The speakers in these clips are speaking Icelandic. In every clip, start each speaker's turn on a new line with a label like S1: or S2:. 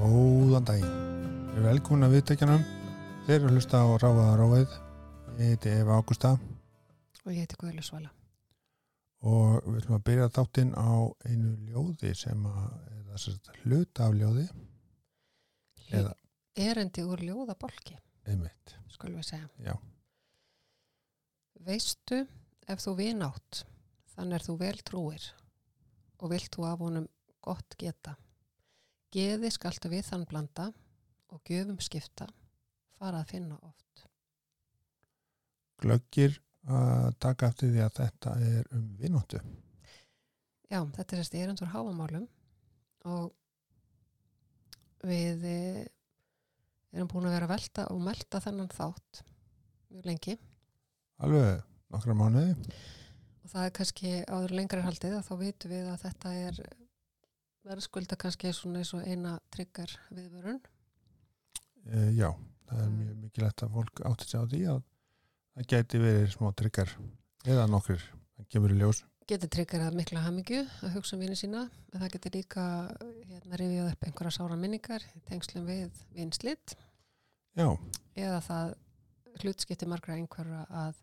S1: Góðan daginn. Ég er velkomin að viðtækjanum. Þeir eru að hlusta á Ráfaða Ráfið. Ég heiti Eva Ágústa
S2: og ég heiti Guðlu Svala.
S1: og við ætlum að byrja þáttinn á einu ljóði sem að eða sem sagt, hluta af ljóði Eða-
S2: Erendi úr ljóðabolki,
S1: einmitt.
S2: skulum við segja.
S1: Já.
S2: Veistu ef þú vinátt, þann er þú vel trúir og vilt þú af honum gott geta. Geði skaltu við þann blanda og gjöfum skipta, fara að finna oft.
S1: Glöggir að taka eftir því að þetta er um vinóttu.
S2: Já, þetta er þessi erend úr háamálum og við eh, erum búin að vera að velta og melta þennan þátt mjög lengi.
S1: Alveg nokkra mánuði.
S2: og það er kannski áður lengra haldið að þá vitum við að þetta er verðskulda kannski svona eins og eina tryggar viðvörun
S1: E, já, það er mjög mikilvægt að fólk átti sig á því að það gæti verið smá tryggar eða nokkur. Það kemur í ljós.
S2: getur tryggar að mikla hamingju að hugsa um vini sína en það getur líka hérna rifjað upp einhverja sára minningar í tengslum við vinslit
S1: Já,
S2: eða það hlutskipti margra einhverja að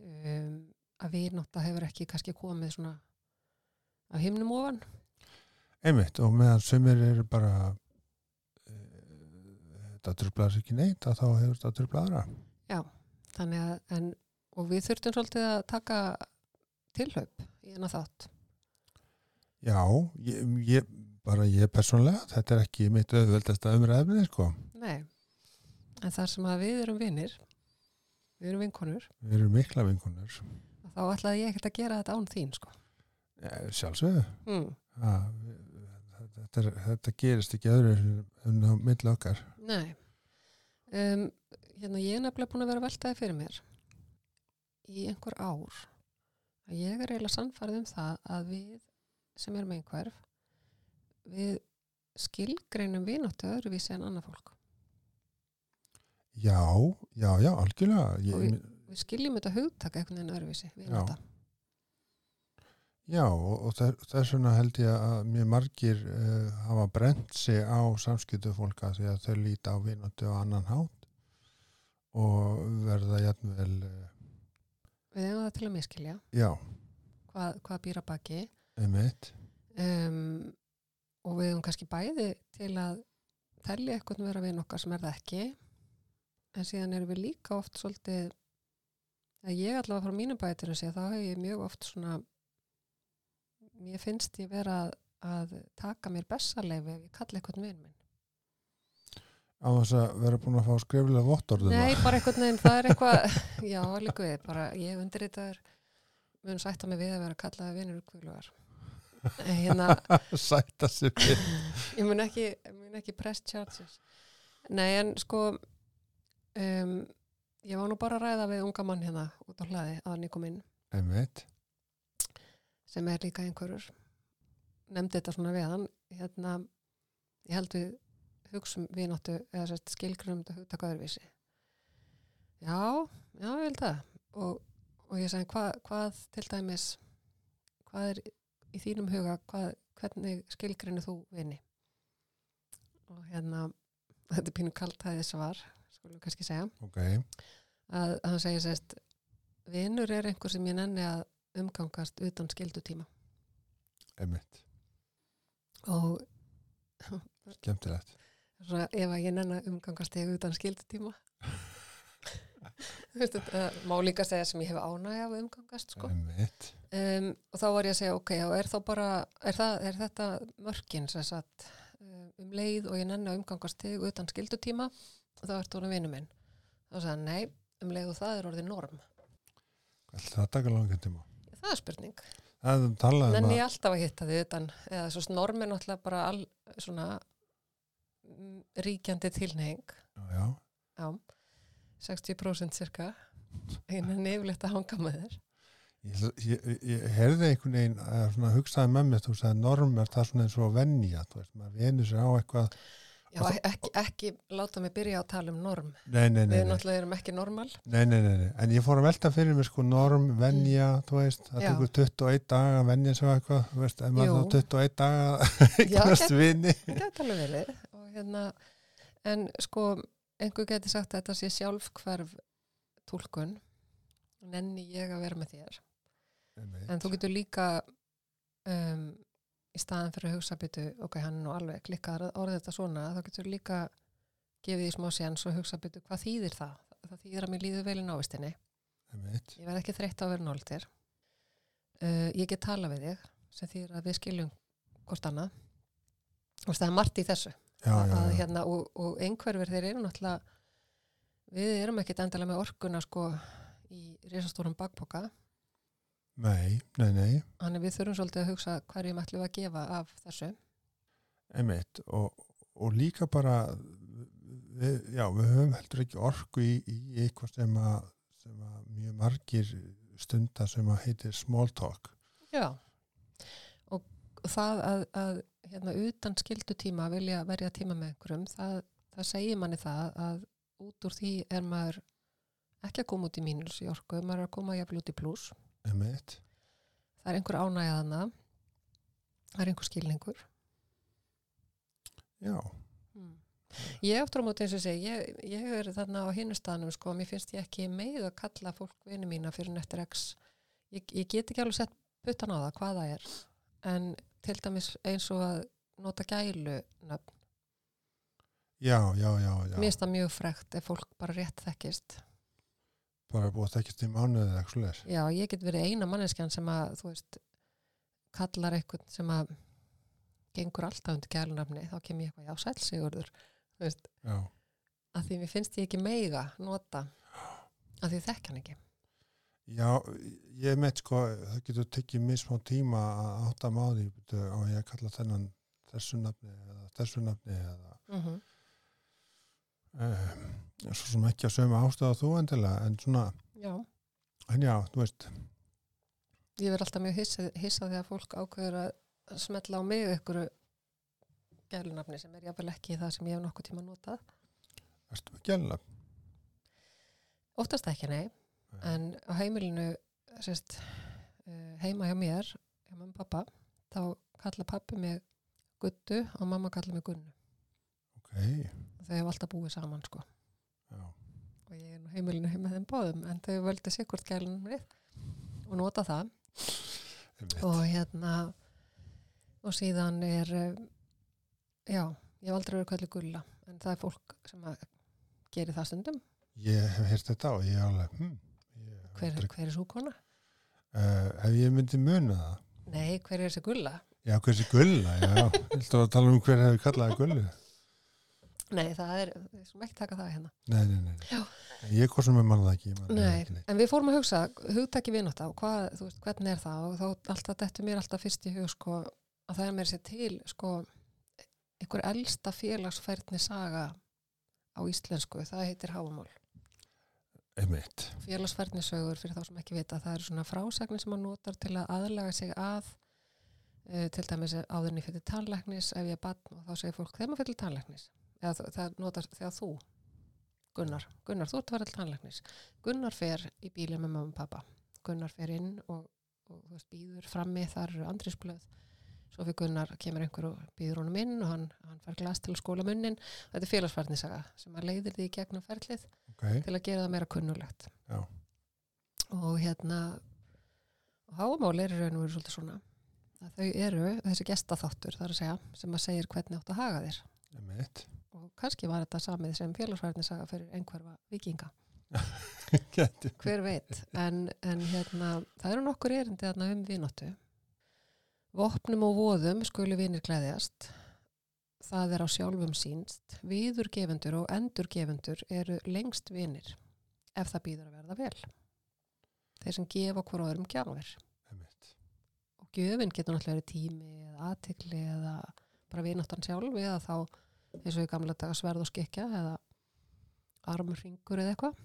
S2: um, að vinátta hefur ekki kannski komið svona af himnum ofan
S1: Einmitt, og meðan sumir eru bara eh, þetta trublaðar ekki neitt að þá hefur þetta trublaðara
S2: þannig að en, og við þurftum svolítið að taka tilhaup í hennar þátt
S1: Já, ég, ég, bara ég persónlega þetta er ekki mitt auðveldasta umræðinni sko.
S2: Nei, en þar sem að við erum vinnir, við erum vinkonur,
S1: við erum mikla vinkunir
S2: þá ætlaði ég ekkert að gera þetta án þín, sko.
S1: sjálfsögðu
S2: Mm.
S1: ja, þetta, er- þetta gerist ekki öðru en á milli okkar
S2: Nei, um, hérna ég er nefnilega búin að vera veltaði fyrir mér í einhver ár. Að Ég er eiginlega sannfærið um það að við sem erum einhverf, við skilgreinum vináttu öðruvísi en annað fólk.
S1: Já, já, já, algjörlega
S2: Og
S1: ég,
S2: Við skiljum þetta hugtaka einhvern veginn öðruvísi, vinátta.
S1: Já, og, og þess- þess vegna held ég að mjög margir uh, hafa brent sig á samskiptu fólka því að þau líta á vinandi á annan hátt og verða jætnvel, uh,
S2: Við eigum það til að miskilja,
S1: já,
S2: hvað, hvað býra baki.
S1: emitt,
S2: um, og við höfum kannski bæði til að telja eitthvað um vera vinn okkar sem er það ekki en síðan erum við líka oft svolítið að ég allavega frá mínum bætinu sé þá hef ég mjög oft svona mér finnst ég vera að, að taka mér bessarleifi ef ég kalla eitthvað vinn minn
S1: á þess að vera búin að fá skriflega um vottorðum.
S2: Nei, bara eitthvað neginn, það er eitthvað já, líka við, bara ég undir þetta er mun sætta mig við að vera kallaði vinnur kvölugar hérna
S1: Sæta sér við.
S2: ég mun ekki, mun ekki press charges nei en sko um, ég var nú bara að ræða við unga mann hérna út á hlaði að hann kom inn
S1: Emitt,
S2: sem er líka einhverjur nefndi þetta svona við hann hérna, ég held við hugsum vináttu eða sérst skilgrunum þetta hugtaka öðruvísi já, já, ég held það og, og ég sagði hva, hvað til dæmis hvað er í þínum huga hvað, hvernig skilgrinu þú vinni og hérna þetta er pínu kaltæði svar skulum við kannski segja
S1: ok,
S2: að hann segir sérst vinnur er einhver sem ég nenni að umgangast utan skildutíma
S1: emitt,
S2: og
S1: skemmtilegt.
S2: Svona, ef að ég nenni að umgangast þig utan skildutíma Þú veist, þetta má líka segja sem ég hef ánægja að umgangast sko.
S1: Emitt,
S2: um, og þá var ég að segja ok, já, er, þá bara, er, það, er þetta mörkin sem sagt, um, um leið og ég nenni að umgangast þig utan skildutíma þá ertu honum vinnu minn þá sagði hann nei, um leið og það er orðið norm
S1: það taka langan tíma.
S2: það er spurning
S1: Það er talað um
S2: Nenni
S1: að,
S2: ég alltaf að hitta þið utan eða svo norm er náttúrulega bara all, svona mm, ríkjandi tilneying
S1: já,
S2: já, 60% cirka ég nenni yfirleitt að hanga með þér
S1: Ég, ég, ég herði einhvern veginn að svona hugsaði með mér, þú sagði norm er það svona eins og venja, þú veist, maður venur sér á eitthvað,
S2: já, ekki, ekki láta mig byrja að tala um norm
S1: nei, nei, nei,
S2: við
S1: nei,
S2: náttúrulega erum ekki normal
S1: nei, nei, nei, nei. en ég fór að velta fyrir mér sko norm, venja, þú veist, það
S2: Mm. Já.
S1: tekur 21 daga að venja sér á eitthvað, þú veist, ef maður
S2: Jú.
S1: þá 21 daga eignast vini,
S2: það gæti alveg verið og hérna, en sko einhver geti sagt að þetta sé sjálfhverf túlkun nenni ég að vera með þér
S1: einmitt.
S2: en þú getur líka um, í staðan fyrir að hugsa byttu ok, hann er nú alveg klikkar orðið þetta svona þá getur líka gefið því smá séns og hugsa byttu hvað þýðir það það þýðir að mér líður vel í návistinni
S1: einmitt.
S2: ég verð ekki þreytt á að vera náldir uh, ég get tala við þig sem þýðir að við skiljum hvort annað og það er margt í þessu
S1: Já, já,
S2: að,
S1: já.
S2: hérna, og, og einhverfur þeir eru náttúrulega við erum ekkit endala með orkuna sko í risastórum bakpoka
S1: Nei, nei, nei,
S2: þannig að við þurfum svolítið að hugsa hverjum ætlum við að gefa af þessu
S1: einmitt og, og líka bara við, já, við höfum heldur ekki orku í, í eitthvað sem að, sem að mjög margir stunda sem að heitir small talk
S2: já og það að, að hérna, utan skildutíma vilja verja tíma með einhverjum það, það segir manni það að út úr því er maður ekki að koma út í mínus í orku maður er að koma jafnvel út í pluss
S1: einmitt,
S2: það er einhver ánægðana það er einhver skilningur
S1: já,
S2: Mm. Ég eftir á móti eins og ég segi, ég, ég hefur verið þarna á hinnustanum sko, mér finnst ég ekki meið að kalla fólk vini mína fyrir nettur x. Ég, ég get ekki alveg sett puttan á það hvað það er, en til dæmis eins og að nota gælu, nöfn.
S1: já, já, já, já.
S2: mér finnst það mjög frekt ef fólk bara rétt þekkist.
S1: bara búið að þekkjast í mánuðið eða eitthvað svoleiðis.
S2: Já, ég get verið eina manneskjan sem að, þú veist, kallar eitthvað sem að gengur alltaf undir gælunafni, þá kem ég eitthvað, já, sæl sigurður, þú veist,
S1: já,
S2: að því mér finnst ég ekki meiga nota, að því þekk hann ekki.
S1: já, ég meitt sko það getur tekið mér smá tíma að átta máði á ég að kalla þennan þessu nafni eða þessu nafni eða
S2: Mm -hmm.
S1: um, svo sem ekki að sömu ástöða þú endilega en svona,
S2: Já,
S1: en já, þú veist
S2: ég verð alltaf mjög hissað, hissað þegar fólk ákveður að smetla á mig ykkur gælunafni sem er jáfnvel ekki það sem ég hef nokkuð tíma notað.
S1: Erstu með gælna?
S2: Óttast ekki, nei, en á heimilinu, sérst, eh, heima hjá mér, hjá mamma og pappa, þá kalla pappi mig Guttu og mamma kalla mig Gunnu.
S1: Ok,
S2: Þau hefur alltaf búið saman, sko.
S1: já,
S2: Og ég er nú á heimilinu heima þeim báðum, en þau völdu sig hvort gælunafnið og nota það.
S1: einmitt.
S2: og hérna og síðan er eh, já, ég hef aldrei verið kallið gulla en það er fólk sem að gerir það stundum,
S1: Ég hef heyrt þetta og ég er alveg, hm, ég hef
S2: hver,
S1: aldrei-
S2: hver er svo kona?
S1: Eh, ef ég myndi muna það,
S2: Nei, hver er þessi gulla?
S1: já, hversi gulla, já, heldur að tala um hver hefur kallaði gullu.
S2: Nei, það er, við skulum ekki taka það hérna
S1: Nei, nei, nei,
S2: Já.
S1: nei. ég kosum með manna það ekki. ég man það
S2: Nei,
S1: ekki neitt.
S2: en við fórum að hugsa hugtaki vinátt á, hvað, þú veist, hvernig er það og þá alltaf dettur mér alltaf fyrst í hug sko, að það er mér sér til sko, einhver elsta félagsfærni saga á íslensku, það heitir Háamál
S1: Einmitt,
S2: félagsfærnisögur fyrir þá sem ekki vita það eru svona frásagnir sem maður notar til að aðlaga sig að uh, til dæmis áðurinn í fyrir tannlæknis ef ég er bann og þá segir fólk þegar maður fyrir tannlæknis eða þ- það notar þegar þú Gunnar, Gunnar þú ert að vera til tannlæknis Gunnar fer í bíli með mamma og pappa Gunnar fer inn og, og þú veist, býður frammi þar eru andrisblöð svo fyrir Gunnar kemur einhver og býður honum inn og hann, hann fær glas til að skóla munnin þetta er félagsfærnisaga sem að leiðir því í gegnum ferlið
S1: ok,
S2: til að gera það meira kunnulegt
S1: Já.
S2: og hérna og háamál eru raun og veru svolítið svona að þau eru, þessi gestaþáttur þar að segja, sem að segir hvernig áttu að haga þér
S1: einmitt.
S2: og kannski var þetta samið sem félagsfærnisaga fyrir einhverfa vikinga,
S1: Gæti.
S2: hver veit en, en hérna, það eru nokkur erindi þarna um vináttu vopnum og voðum skulu vinir gleðjast það er á sjálfum sínst viðurgefendur og endurgefendur eru lengst vinir ef það býður að verða vel þeir sem gefa hver öðrum gjafir
S1: Einmitt,
S2: og gjöfin getur náttúrulega verið tími eða aðtikli eða bara vináttan sjálf eða þá eins og í gamla daga sverð og skikja eða armringur eða eitthvað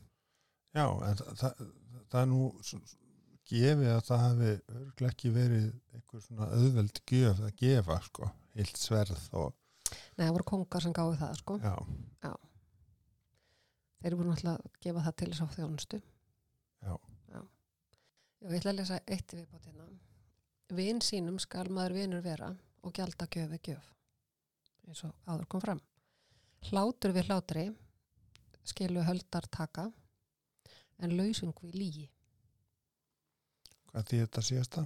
S1: já, en það, það, það er nú svo- svo- gefið að það hefði örglega ekki verið einhver svona auðveld gjöf að gefa, sko, heilt sverð og,
S2: Nei, það voru kongar sem gáðu það sko
S1: já,
S2: þeir voru náttúrulega að gefa það til þess að þjónustu
S1: Já.
S2: Já. Já, ég ætla að lesa eitt viðbót hérna Vin sínum skal maður vinur vera og gjalda gjöfi gjöf eins og áður kom fram hlátur við hlátri skilu höldar taka en lausung við lígi
S1: Hvað því þetta síðasta?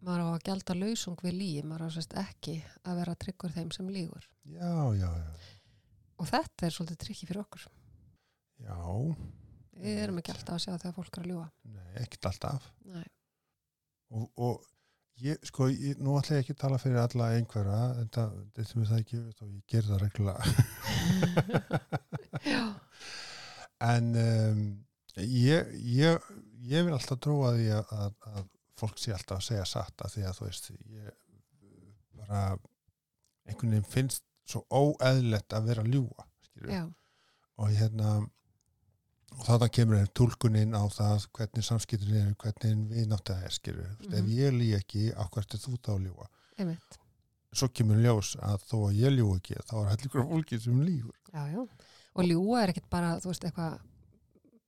S2: maður á að gjalda lausung við lígi maður á sérst ekki að vera tryggur þeim sem lígur
S1: Já, já, já.
S2: og þetta er svolítið tryggi fyrir okkur
S1: Já,
S2: við erum ekki alltaf að sjá þegar fólk er að ljúa
S1: nei, ekkert alltaf.
S2: Nei.
S1: Og, og ég, sko, ég, nú ætla ég ekki að tala fyrir alla einhverja, en það, þetta er það ekki, og ég ger það reglulega.
S2: já,
S1: En um, ég, ég, ég vil alltaf trúa því að, að, að fólk sé alltaf að segja satt að því að þú veist, ég bara einhvern veginn finnst svo óeðlegt að vera að ljúga, skilur.
S2: já,
S1: og hérna og þarna kemur þeim tólkunin á það hvernig samskiptin eru, hvernig vinátt það er skilur, mm
S2: Mhm.
S1: ef ég lí ekki á hvert er þú þá að ljúa,
S2: einmitt
S1: svo kemur ljós að þó að ég ljú ekki, þá er hellingur af fólki sem lífur,
S2: já, já. og ljúa er ekkit bara þú veist eitthvað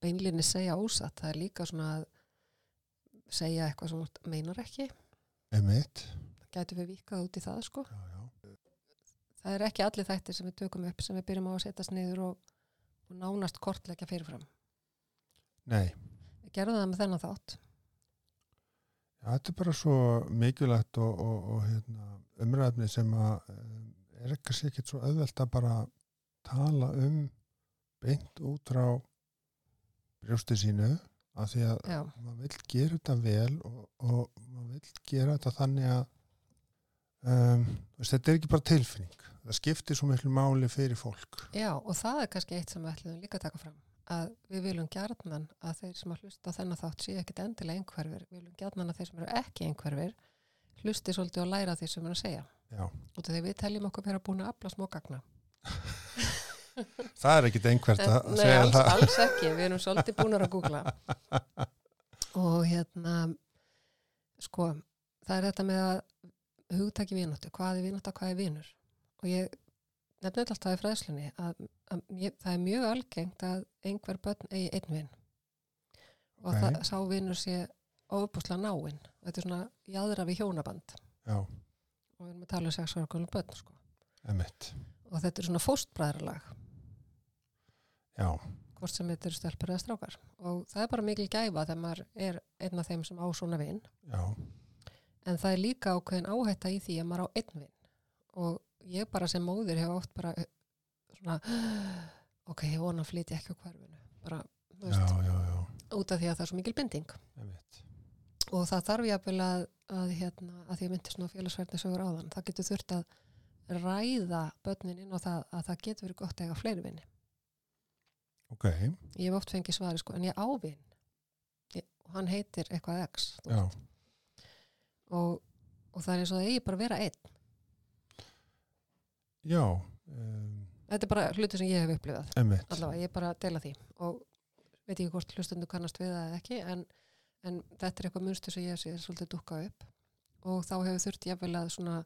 S2: beinlinni segja ósatt það er líka svona að segja eitthvað sem þú meinar ekki
S1: emitt
S2: gætu við vikað út í það sko
S1: já, já.
S2: það er ekki allir þættir sem við tökum upp sem við byrjum á að setjast niður og, og nánast kortleggja fyrirfram
S1: nei,
S2: við gerðum það með þennan þátt
S1: já, þetta er bara svo mikilvægt og, og, og hérna, umræðni sem að um, er kannski ekkert svo auðvelt að bara tala um beint út frá brjósti sínu af því að
S2: já,
S1: maður vill gera þetta vel og, og maður vill gera þetta þannig að um, þú veist, þetta er ekki bara tilfinning það skiptir svo miklu máli fyrir fólk
S2: já, og það er kannski eitt sem við ætlum líka að taka fram að við viljum gjarnan að þeir sem að hlusta á þennan þátt séu ekkit endilega einhverfir við viljum gjarnan að þeir sem eru ekki einhverfir hlusti svolítið og læra af því sem við erum að segja
S1: Já.
S2: út af því við teljum okkur vera búin að afla smágagna
S1: það er ekkit einhvert að
S2: Nei,
S1: segja
S2: alls,
S1: það
S2: alls ekki, við erum svolítið búnar að googla og hérna sko, það er þetta með að hugtaki vináttu, hvað er vináttu, hvað er vinur og ég nefnir alltaf í fræðslunni að, að ég, það er mjög algengt að einhver börn eigi einn vin og
S1: Ok.
S2: það, sá vinur sé óbúslega náinn þetta er svona jáðra við hjónaband
S1: já,
S2: og við erum að tala um sex ára gömlu börn sko.
S1: emitt
S2: og þetta er svona fóstbræðralag
S1: já,
S2: hvort sem þetta eru stelpur eða strákar og það er bara mikil gæfa þegar maður er einn af þeim sem á svona vin
S1: já,
S2: en það er líka ákveðin áhætta í því að maður á einn vin og ég bara sem móðir hef oft bara eh, svona ok, ég vona að flytja ekki á hverfinu bara,
S1: já,
S2: þú veist,
S1: já, já
S2: út af því að það er svo mikil binding
S1: emitt
S2: og það þarf jáfnvel að, að, hérna, að því að myndi svona félagsverðni sögur áðan það getur þurft að ræða börnin inn á það að það getur verið gott að eiga fleiri vini
S1: ok,
S2: ég hef oft fengið svari sko, en ég ávinn og hann heitir eitthvað X þú
S1: já,
S2: veist. og, og það er eins og það eigi bara að vera einn
S1: já um,
S2: þetta er bara hlutu sem ég hef upplifað
S1: emitt
S2: allavega, ég er bara að dela því og veit ekki hvort hlustundu kannast við það eða ekki en, en þetta er eitthvað munstu sem ég sé svolítið dukka upp og þá hefur þurft jafnvel að svona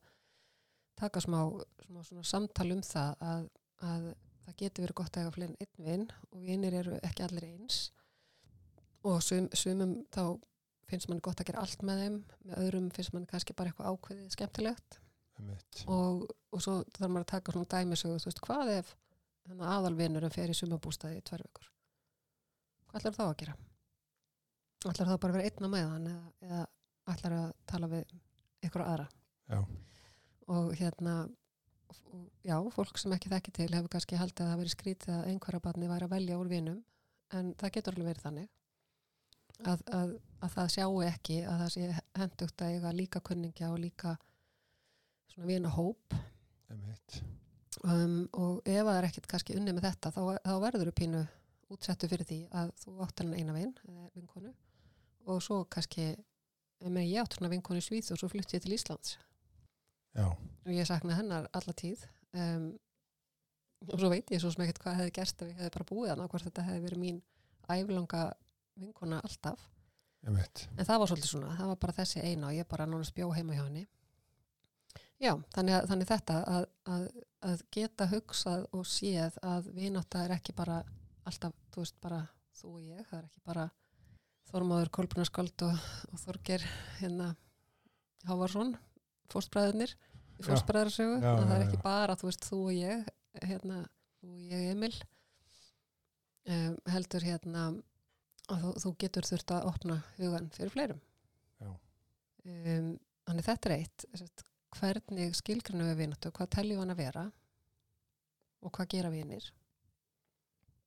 S2: taka smá, smá svona samtal um það að, að það getur verið gott að eiga fleiri en einn vinn og vinnir eru ekki allir eins og sum, sumum þá finnst mann gott að gera allt með þeim með öðrum finnst mann kannski bara eitthvað ákveðið skemmtilegt
S1: emitt,
S2: og, og svo þarf maður að taka svona dæmisögu, þú veist, hvað ef þannig aðalvinurinn fer í sumabústaði í tvær vikur? Hvað ætlar þá að gera? Ætlar þá bara að vera einn á með hann eða, eða ætlar að tala við ykkur aðra?
S1: Já.
S2: Og hérna, og- já, fólk sem ekki þekki til hefur kannski haldið að það veri skrítið að einhverja barni væri að velja úr vinum, en það getur alveg verið þannig. Að, að, að það sjáu ekki að það sé hendugt að eiga líka kunningja og líka svona vina
S1: emitt
S2: um, og ef það er ekkert kannski unnið með þetta þá, þá verður þú pínu útsettu fyrir því að þú áttir hann eina vin eða vinkonu og svo kannski ég meina, ég átt svona vinkonu í Svíð og svo flutti ég til Íslands
S1: já,
S2: og ég sakna hennar alla tíð um, og svo veit ég svo sem ekkert hvað hefði gerst ef ég hefði bara búið hann á hvort þetta hefði verið mín æflanga vinkona alltaf
S1: emitt
S2: En það var svolítið svona, það var bara þessi eina og ég bara nánast bjó heima hjá henni. Já, þannig, að, þannig þetta að, að, að geta hugsað og séð að vinátta er ekki bara alltaf, þú veist, bara þú og ég, það er ekki bara Þormáður Kolbrunarskóld og, og Þorger hérna Hávarsson, fórstbræðinir í
S1: Já.
S2: fórstbræðarsögu,
S1: Já,
S2: að það
S1: já,
S2: er ekki
S1: já.
S2: bara, þú veist, þú og ég hérna, og ég Emil um, heldur hérna að þú, þú getur þurft að opna hugan fyrir fleirum
S1: Já.
S2: um, Þannig þetta er eitt sett, hvernig skilgrinu við vináttu hvað teljum hann að vera og hvað gera vinir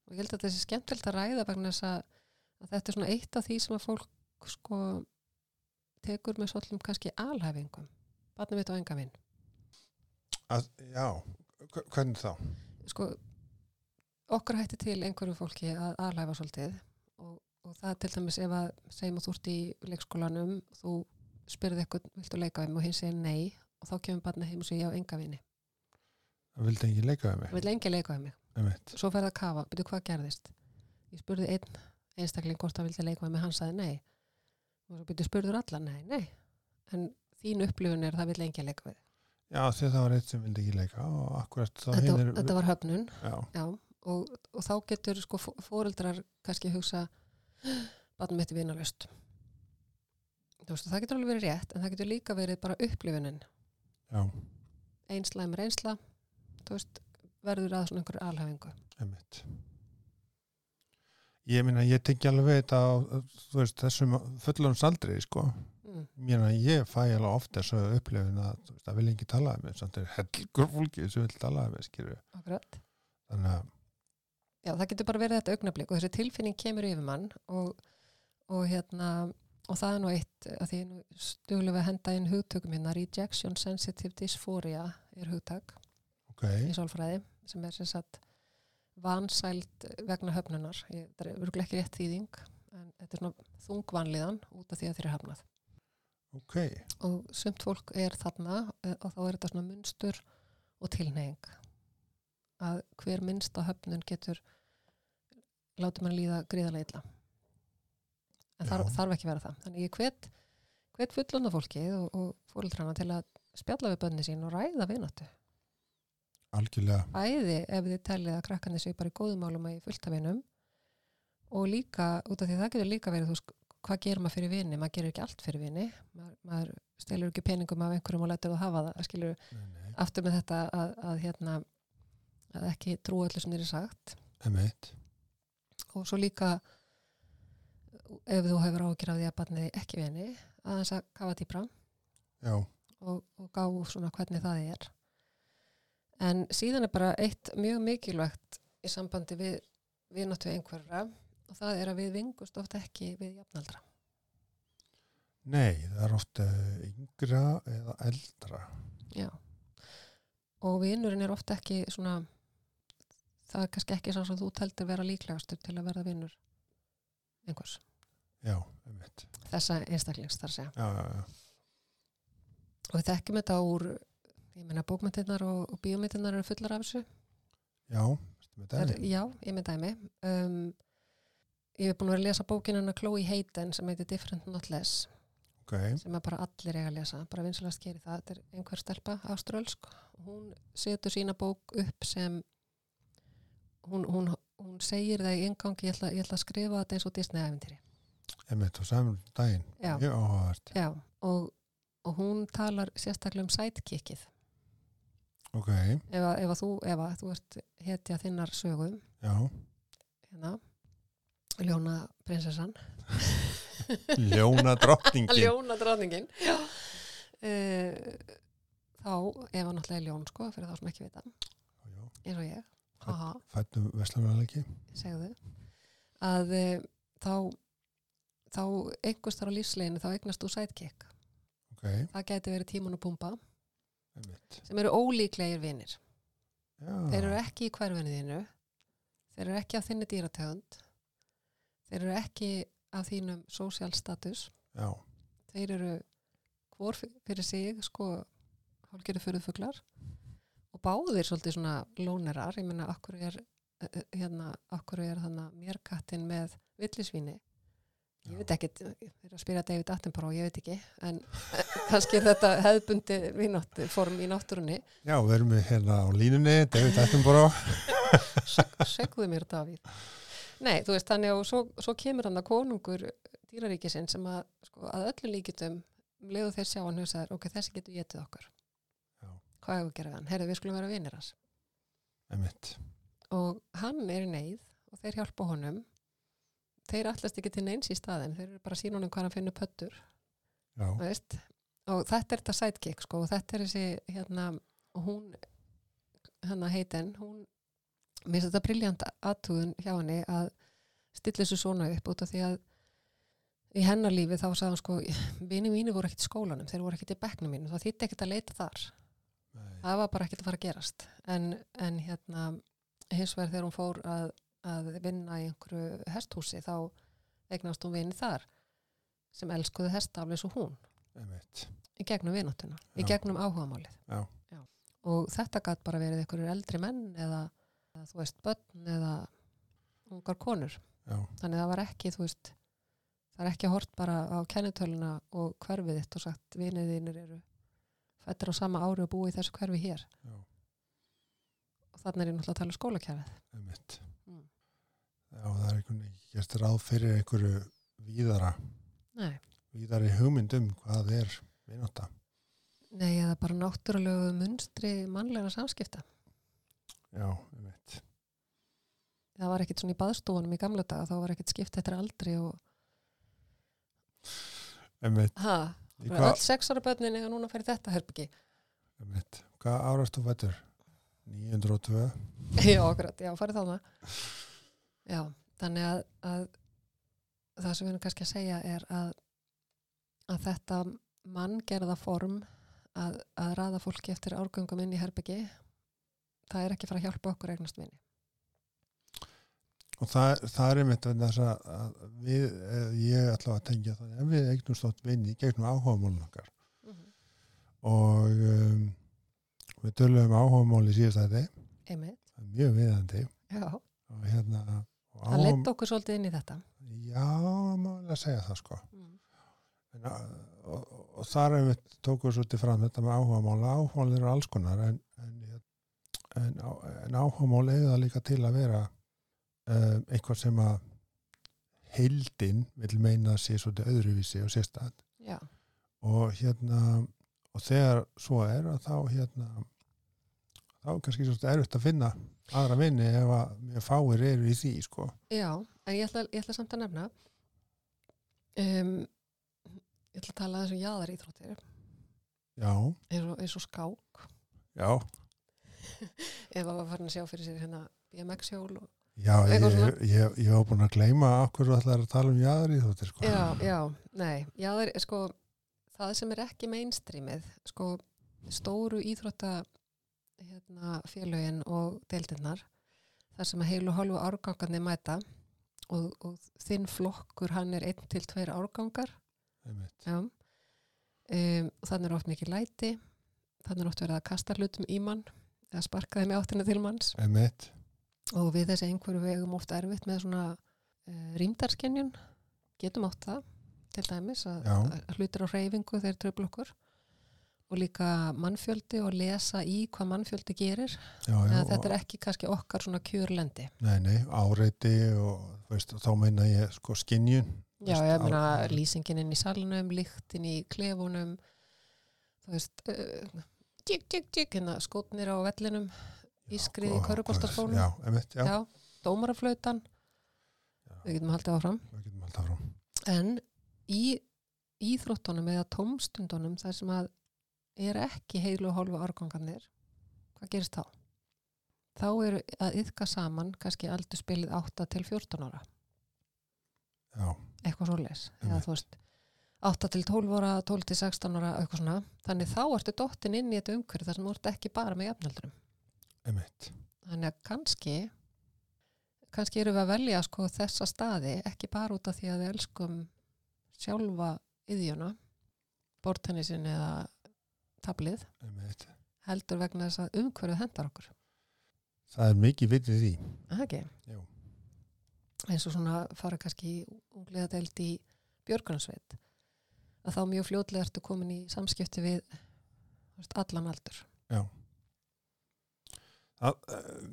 S2: og ég held að þessi skemmtilegt að ræða vegna þess að, að þetta er svona eitt af því sem að fólk sko tekur með svolum kannski alhæfingum barnum mitt og enga vin
S1: Að, já, hver- hvernig þá?
S2: sko, okkar hætti til einhverju fólki að aðlæfa svolítið og, og það til dæmis ef að segjum að þú ert í leikskólanum þú spyrði eitthvað, viltu leika við mig og hinn segir nei og þá kemur barnið heim og segir já, enga vini
S1: Það vildi engin leika við
S2: það
S1: mig.
S2: vil engi leika við mig,
S1: Einmitt.
S2: svo fer það að kafa byrju hvað gerðist, ég spurði einn einstakling hvort það vildi leika við mig, hann sagði nei og svo byrju spurður alla, nei, nei en þín upplifun er það vil engi leika við
S1: Já, því að það var eitt sem vildi ekki leika og akkurat þá
S2: þetta,
S1: hinir...
S2: þetta var höfnun
S1: Já,
S2: Já, og, og þá getur sko fó- fóreldrar kannski hugsa barnum mitt er vinalöst. Þú veist, það getur alveg verið rétt, en það getur líka verið bara upplifunin.
S1: já,
S2: Einsla er einsla, þú veist, verður að svona einhverju alhæfingu.
S1: einmitt. Ég minna, ég tengi alveg þetta á, þú veist, þessum fullum saldri, sko.
S2: Mm.
S1: Mér að ég fæ alveg oft þessu upplifun að þú veist, það vil ekki tala um mig, samt er helgur fólki sem vil tala um mig, skilju.
S2: Akkurat.
S1: Þannig að,
S2: Já, það getur bara verið þetta augnablík og þessi tilfinning kemur yfir mann og, og hérna, og það er nú eitt að því ég er nú stuglega við að henda inn hugtökum hérna, rejection sensitive dysphoria er hugtak.
S1: ok,
S2: í sálfræði sem er sem sagt vansæld vegna höfnunar ég, það er örgulega ekki rétt þýðing en þetta er svona þungvanliðan út af því að þeir eru hafnað
S1: ok,
S2: og sumt fólk er þarna eh, og þá er þetta svona munstur og tilneying að hver minnsta höfnun getur láti mann líða gríðarlega illa en þarf,
S1: Já.
S2: þarf ekki að vera það þannig ég hvet, hvet fullanda fólkið og, og fóreldrana til að spjalla við bönni sín og ræða vináttu
S1: algjörlega,
S2: bæði ef þið tellið að krakkarnir séu bara í góðum málum og í fulltafinum og líka, út af því að það getur líka verið þú veist, hvað gerir maður fyrir vini, maður gerir ekki allt fyrir vini maður, maður stelur ekki peningum af einhverjum og lætur þú hafa það, skilur
S1: nei, nei,
S2: aftur með þetta að, að hérna að ekki trú öllu sem þér er sagt
S1: einmitt,
S2: og svo líka ef þú hefur ágjur af því að barnið eigi ekki vini, aðeins að kafa dýpra
S1: já,
S2: og, og gá svona hvernig það er. En síðan er bara eitt mjög mikilvægt í sambandi við vináttu einhverra og það er að við vingust oft ekki við jafnaldra.
S1: nei, það er oft eh, yngra eða eldra,
S2: Já. Og vinurinn er oft ekki svona, það er kannski ekki svo sem þú teldir vera líklegastur til að verða vinur einhvers.
S1: já, einmitt,
S2: Þessa einstaklings þar að segja.
S1: já, já, já,
S2: Og við þekkjum þetta úr, ég meina bókmyndirnar og, og bíómyndirnar eru fullar af þessu.
S1: já, veistu með
S2: er,
S1: dæmi?
S2: já, ég með dæmi um, ég hef búin að vera að lesa bókina hennar Chloe Hayden sem heitir Different Not Less
S1: ok,
S2: sem er bara allir eiga að lesa, bara vinsalast gerir það þetta er einhver stelpa áströlsk hún setur sína bók upp sem hún, hún, hún segir það í engangi ég ætla, ég ætla að skrifa þetta eins og Disney-æventýri
S1: einmitt, og saman daginn,
S2: Já.
S1: mjög áhugavert,
S2: já, og, og hún talar sérstaklega um sidekickið
S1: ok,
S2: ef, að- ef að þú, ef að þú ert hetja þinnar sögum
S1: já,
S2: hérna, ljóna prinsessan
S1: ljóna drottningin,
S2: ljóna drafningin Eh, þá ef hann náttúrulega er ljón sko, fyrir þá sem ekki vita
S1: já,
S2: eins og ég, haha,
S1: fættum veslanarleiki,
S2: segðu að e, þá þá einhvers þar á lífsleginu þá eignast þú sidekick
S1: ok,
S2: það gæti verið tíman og pumpa
S1: einmitt,
S2: sem eru ólíklegir vinir
S1: já,
S2: þeir eru ekki í hverfinu þínu þeir eru ekki af þinni dýrategund þeir eru ekki af þínum social status
S1: já,
S2: þeir eru hvor f- fyrir sig sko hálfgerðu furðfuglar og báðir svolítið svona lónerar ég meina akkur er eh, eh, hérna, akkur er þannig mérkattin með villisvíni ég veit ekki, ég er að spyrja David Attenborough ég veit ekki, en eh, kannski er þetta hefðbundi vinnátt form í náttúrunni,
S1: já, við erum við hérna á línunni, David Attenborough,
S2: segðu mér Davíð nei, þú veist þannig og svo, svo kemur hann að konungur dýraríkisinn sem að, sko, að öllu líkitum um leiðu þeir sjá hann hugsaðar, ok, þessi getur getið okkur
S1: Já.
S2: hvað hefur gerðið hann, herðu við skulum vera vinir hans
S1: einmitt,
S2: og hann er í neyð og þeir hjálpa honum þeir allast ekki til neins í staðin þeir eru bara að sína honum hvað hann finnur pöttur
S1: já,
S2: þú veist og þetta er þetta sidekick sko og þetta er þessi hérna og hún hérna heitin hún mér finnst þetta briljant aðtúðun hjá henni að stilla þessu svona upp út af því að í hennar lífi þá sagði hann sko vini mínu voru ekkert í skólanum, þeir voru ekkert í bekknum mínu það þýtti ekkert að leita þar
S1: nei,
S2: það var bara ekkert að fara að gerast en, en hérna hins vegar þegar hún fór að, að vinna í einhverju hesthúsi þá eignast hún vini þar sem elskuðu hestaflis og hún
S1: einmitt
S2: í gegnum vinattuna, í
S1: Já.
S2: gegnum áhugamálið
S1: Já.
S2: og þetta gætt bara verið einhverjur eldri menn eða, eða þú veist börn eða ungar konur
S1: já,
S2: þannig að það var ekki, þú veist það er ekki hort bara á kennitöluna og hverfið þitt og sagt viniðinir eru fættir á sama ári og búið í þessu hverfi hér
S1: Já.
S2: og þannig er ég náttúrulega að tala um skólakjærið
S1: einmitt
S2: Mm.
S1: já, það er einhvern veginn ekki gert ráð fyrir einhverju víðara
S2: nei,
S1: víðari hugmyndum hvað er vinóta
S2: nei, eða bara náttúrulegu munstri mannlega samskipta
S1: já, einmitt
S2: það var ekkit svona í baðstofunum í gamla daga þá var ekkit skipt eftir aldri og
S1: einmitt,
S2: ha,
S1: í
S2: öll
S1: hvað,
S2: sexara börnin eða núna fyrir þetta herbyggi
S1: einmitt. hvað árastu fættur? 902
S2: Já, akkurat, já, farið þarna. Já, þannig að, að það sem við erum kannski að segja er að, að þetta manngerða form að, að ræða fólki eftir árgöngum inn í herbyggi, það er ekki að fara að hjálpa okkur að eignast minni.
S1: Og það, það er einmitt vegna þess að- að við, eða ég ætla að tengja það, ef við eignumst þátt vinni gegnum áhugamálun okkar og um, við tölum áhugamál í síðastæði,
S2: Einmitt,
S1: það er mjög viðandi
S2: já,
S1: og hérna og
S2: það leitt okkur svolítið inn í þetta.
S1: já, maður að segja það sko. En, að- og, og, og þar einmitt tókum við svolítið fram þetta með áhugamál, áhugamál eru alls konar en, en, hérna, en, á- en áhugamál eða líka til að vera um, eitthvað sem að heildin vil meina að sé svolítið öðruvísi og sérstæð
S2: Já,
S1: og hérna og þegar svo er að þá hérna þá er kannski svolítið erfitt að finna aðra vinni ef að mjög fáir eru í því sko
S2: já, en ég ætla, ég ætla samt að nefna, um, ég ætla að tala aðeins um jáðar íþróttir,
S1: já,
S2: eins og, eins og skák.
S1: já,
S2: ef að var farin að sjá fyrir sér hérna BMX-hjól og...
S1: já ég,
S2: Eitthvað svona.
S1: ég, ég, ég var búin að gleyma okkur þú ætlar að tala um jáður í þóttir sko
S2: Já, já, nei, já, það er sko það sem er ekki mainstreamið sko stóru íþrótta hérna félögin og deildinnar þar sem að heilu og hálfu árgangandi mæta og, og þinn flokkur hann er einn til tveir árgangar
S1: Einmitt.
S2: já um, og þannig er oft mikið læti þannig er oft verið að kasta hlutum í mann eða sparka þeim í áttina til manns
S1: Einmitt.
S2: og við þessi einhverju vegum oft erfitt með svona uh, rýmdarskenjun getum átt það til dæmis að,
S1: Já.
S2: að hlutir á reyfingu þeir tröfla okkur og líka mannfjöldi og lesa í hvað mannfjöldi gerir
S1: Já, já,
S2: eða þetta
S1: og,
S2: er ekki kannski okkar svona kjörlendi
S1: nei, nei, áreiti og þú veist, þá meina ég sko skinjun
S2: Já,
S1: Veist,
S2: ég
S1: á-
S2: meina
S1: á-
S2: lýsingin inn í salnum, lyktin í klefunum, þú veist, uh, tjík, tjík, tjík, hérna skotnir á vellinum, ískrið í
S1: og-
S2: körfuboltaskónum,
S1: Já, einmitt, já,
S2: já, dómaraflautan,
S1: já.
S2: við getum haldið áfram.
S1: Við getum alltaf frá
S2: en í íþróttunum eða tómstundunum þar sem að er ekki heilu og hálfu árgangarnir hvað gerist þá? þá eru að yðka saman kannski aldur spilið 8 til 14 ára
S1: Já,
S2: eitthvað svoleiðis eða
S1: Einmitt.
S2: þú veist 8 til 12 ára, 12 til 16 ára eitthvað svona, þannig þá ertu dottin inn í þetta umhverju þar sem þú ert ekki bara með jafnöldurum
S1: einmitt
S2: þannig að kannski kannski erum við að velja sko þessa staði ekki bara út af því að við elskum sjálfa yðjuna bortennisin eða tablið,
S1: Einmitt.
S2: heldur vegna þess að umhverfið hendar okkur,
S1: Það er mikið vitið því
S2: Er það ekki?
S1: Jú.
S2: eins og svona fara kannski í ungliðadeild í björgunarsveit að þá mjög fljótlega ertu komin í samskipti við þú veist, allan aldur
S1: að, eh,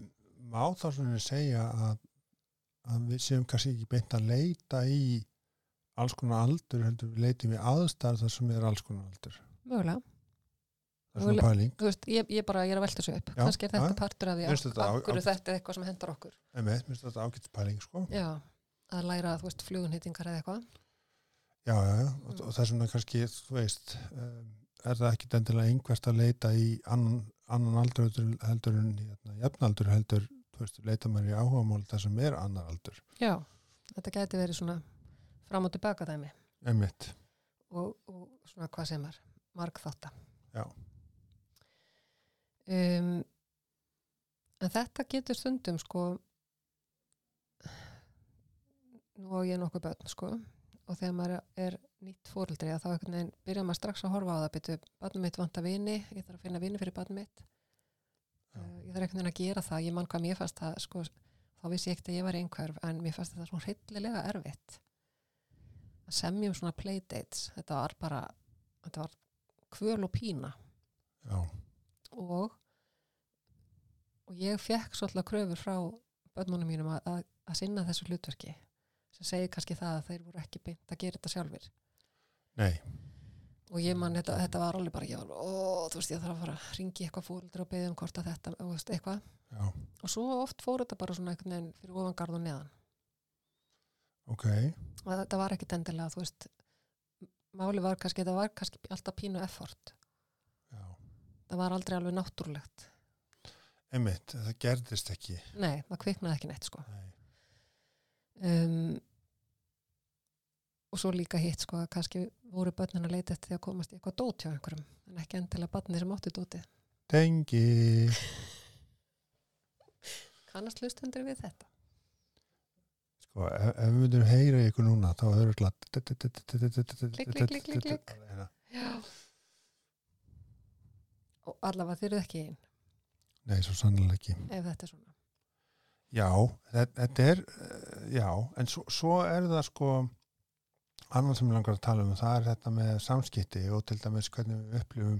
S1: má þá svona segja að, að við séum kannski ekki beint að leita í alls konar aldur heldur við leitum í aðstæður þar sem er alls konar aldur það
S2: mögulega,
S1: er svona
S2: Mögulega-
S1: pæling
S2: þú veist, ég, ég bara, ég er að velta þessu upp
S1: Já,
S2: kannski er þetta
S1: já.
S2: partur af því
S1: Finnst þetta á-
S2: af hverju
S1: á-
S2: þetta er eitthvað sem hendar okkur
S1: einmitt, minnst þetta ágætt pæling sko
S2: já, að læra, þú veist, flugunhýtingar eða eitthvað
S1: já, já, já, og, og það er svona kannski þú veist, um, er það ekki endilega einhvert að leita í annan, annan aldur heldur- heldur en hérna, jafnaldur heldur, þú veist, leita maður í áhugamál það sem er annar aldur
S2: já, þetta gæti verið svona fram og tilbaka dæmi
S1: einmitt,
S2: og, og svona hvað sem er markþátta
S1: Já.
S2: um, en þetta getur stundum sko nú á ég nokkuð börn sko og þegar maður er nýtt fóreldri að þá einhvern veginn byrja maður strax að horfa á það byrju, barnum mitt vanta vini, ég þarf að finna vini fyrir barnum mitt
S1: Já.
S2: Eh, ég þarf einhvern veginn að gera það, ég mann hvað mér fannst það sko, þá vissi ég ekkert að ég var einhverf en mér fannst þetta svo hryllilega erfitt að semja um svona playdates þetta var bara þetta var kvöl og pína
S1: já,
S2: og og ég fekk svolítið kröfur frá börnunum mínum að, að, að sinna þessu hlutverki sem segir kannski það að þeir voru ekki beint að gera þetta sjálfur
S1: nei
S2: og ég man þetta, þetta var alveg bara ég var, ó, þú veist, ég þarf að fara að ringi eitthvað fólöldur og beðið um hvort að þetta, þú veist, eitthvað
S1: já,
S2: og svo oft fór þetta bara svona einhvern veginn fyrir ofan garð og neðan
S1: ok,
S2: og þetta var ekkit endilega, þú veist máli var kannski, þetta var kannski alltaf pínu effort,
S1: já
S2: það var aldrei alveg náttúrulegt
S1: einmitt, það gerðist ekki
S2: nei, það kviknaði ekki neitt, sko
S1: nei,
S2: um, og svo líka hitt sko að kannski voru börnin að leita eftir því að komast í eitthvað dót hjá einhverjum en ekki endilega barnið sem átti dótið
S1: tengi
S2: kannast hlustendur við þetta
S1: sko, ef, ef við myndum heyra í ykkur núna þá er það glatt klikk,
S2: klikk, klikk, klikk, klikk. já og allavega þeir eru ekki einn
S1: nei, svo sannlega ekki
S2: ef þetta er svona
S1: Já, þe- þetta er eh, já, en svo, svo er það sko annað sem mig langar að tala um það er þetta með samskipti og til dæmis hvernig við upplifum